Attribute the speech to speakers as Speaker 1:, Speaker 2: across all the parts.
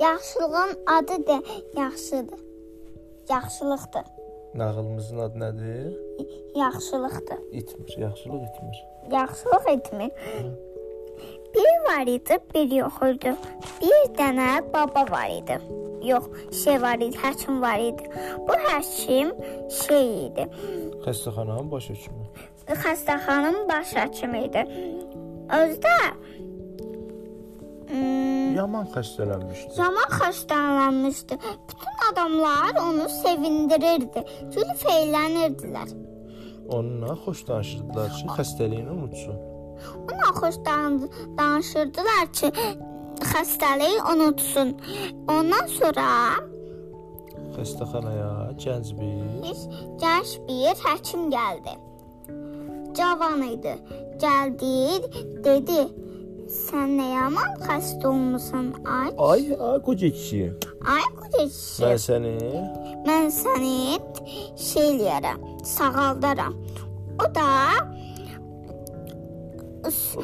Speaker 1: Yaxşılığın adı da yaxşıdır. Yaxşılıqdır.
Speaker 2: Nağılımızın adı nədir?
Speaker 1: Yaxşılıqdır.
Speaker 2: İtmir, yaxşılıq itmir.
Speaker 1: Yaxşılıq etmir. Bir var idi, bir yox idi. Bir dənə baba var idi. Yox, şey var idi, həkim var idi. Bu həkim şey idi.
Speaker 2: Xəstəxananın baş həkimi.
Speaker 1: Xəstəxananın baş həkimi idi. Özdə mm,
Speaker 2: Yaman xəstələnmişdi.
Speaker 1: Zaman xəstələnmişdi. Bütün adamlar onu sevindirirdi. Gülüb eğlənirdilər.
Speaker 2: Onunla xoş danışırdılar ki, xəstəliyini unutsun.
Speaker 1: Ona xoş dan- danışırdılar ki, xəstəliyi unutsun. Ondan sonra
Speaker 2: Xəstəxanaya gənc bir
Speaker 1: bir gənc bir həkim gəldi. Cavan idi. Gəldi, dedi: "Sən nə yaman xəstə olmusan, ay?
Speaker 2: Ay, ay qoca kişi.
Speaker 1: Ay qucaqçı,
Speaker 2: Mən səni
Speaker 1: mən səni şey eləyərəm, sağaldaram." O da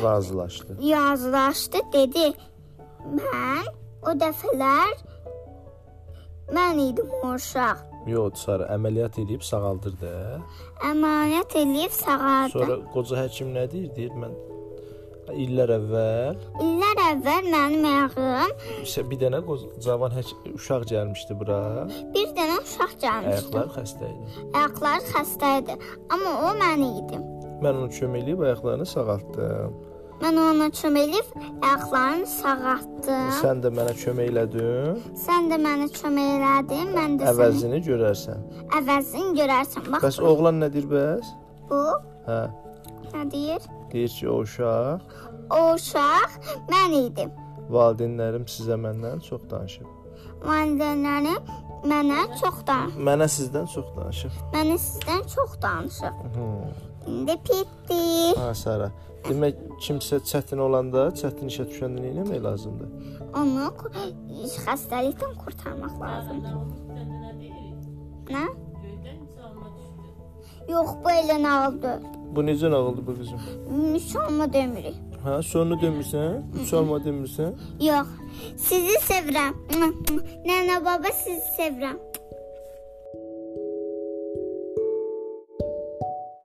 Speaker 2: razılaşdı.
Speaker 1: yazlaşdı, dedi: "Mən o dəfələr mən idim o uşaq.
Speaker 2: Yox, Sara əməliyyat edib sağaldırdı. hə?
Speaker 1: Əmanət eləyib sağaldı.
Speaker 2: Sonra qoca həkim nə deyir? Deyir mən illər əvvəl
Speaker 1: İllər əvvəl mənim ayağım
Speaker 2: isə bir dənə qoz- cavan həkim, uşaq gəlmişdi bura.
Speaker 1: bir dənə uşaq gəlmişdi.
Speaker 2: Ayaqları xəstə idi.
Speaker 1: Ayaqları xəstə idi, amma o məni idi.
Speaker 2: Mən onu köməkləyib ayaqlarını sağaltdım.
Speaker 1: Mən ona çöməlib ayaqlarını sağaltdım.
Speaker 2: Sən də mənə kömək elədin.
Speaker 1: Sən də mənə kömək elədin, mən də sənin
Speaker 2: Əvəzini görərsən.
Speaker 1: əvəzini görərsən. Bax
Speaker 2: Bəs oğlan nə deyir bəs?
Speaker 1: bu
Speaker 2: Hə,
Speaker 1: nə deyir?
Speaker 2: deyir ki, o uşaq
Speaker 1: O uşaq mən idim.
Speaker 2: valideynlərim sizə məndən çox danışıb.
Speaker 1: Valideynlərim mənə çox danışır.
Speaker 2: Mənə sizdən çox danışıb.
Speaker 1: Mənə sizdən çox danışır.
Speaker 2: Hmm.
Speaker 1: İndi pitdi.
Speaker 2: Ha, Hə, Sara. Demək kimsə çətin olanda, çətin işə düşəndə nə etmək lazımdır?
Speaker 1: Onu ku- xəstəlikdən qurtarmaq lazımdır. Nə? Yox, bu elə nağıldır.
Speaker 2: Bu necə nağıldı bu qızım?
Speaker 1: Nişanlı demirik.
Speaker 2: Hə, sonunu demirsən, üç olma demirsən.
Speaker 1: Yox. Sizi sevirəm. Nənə baba sizi sevirəm.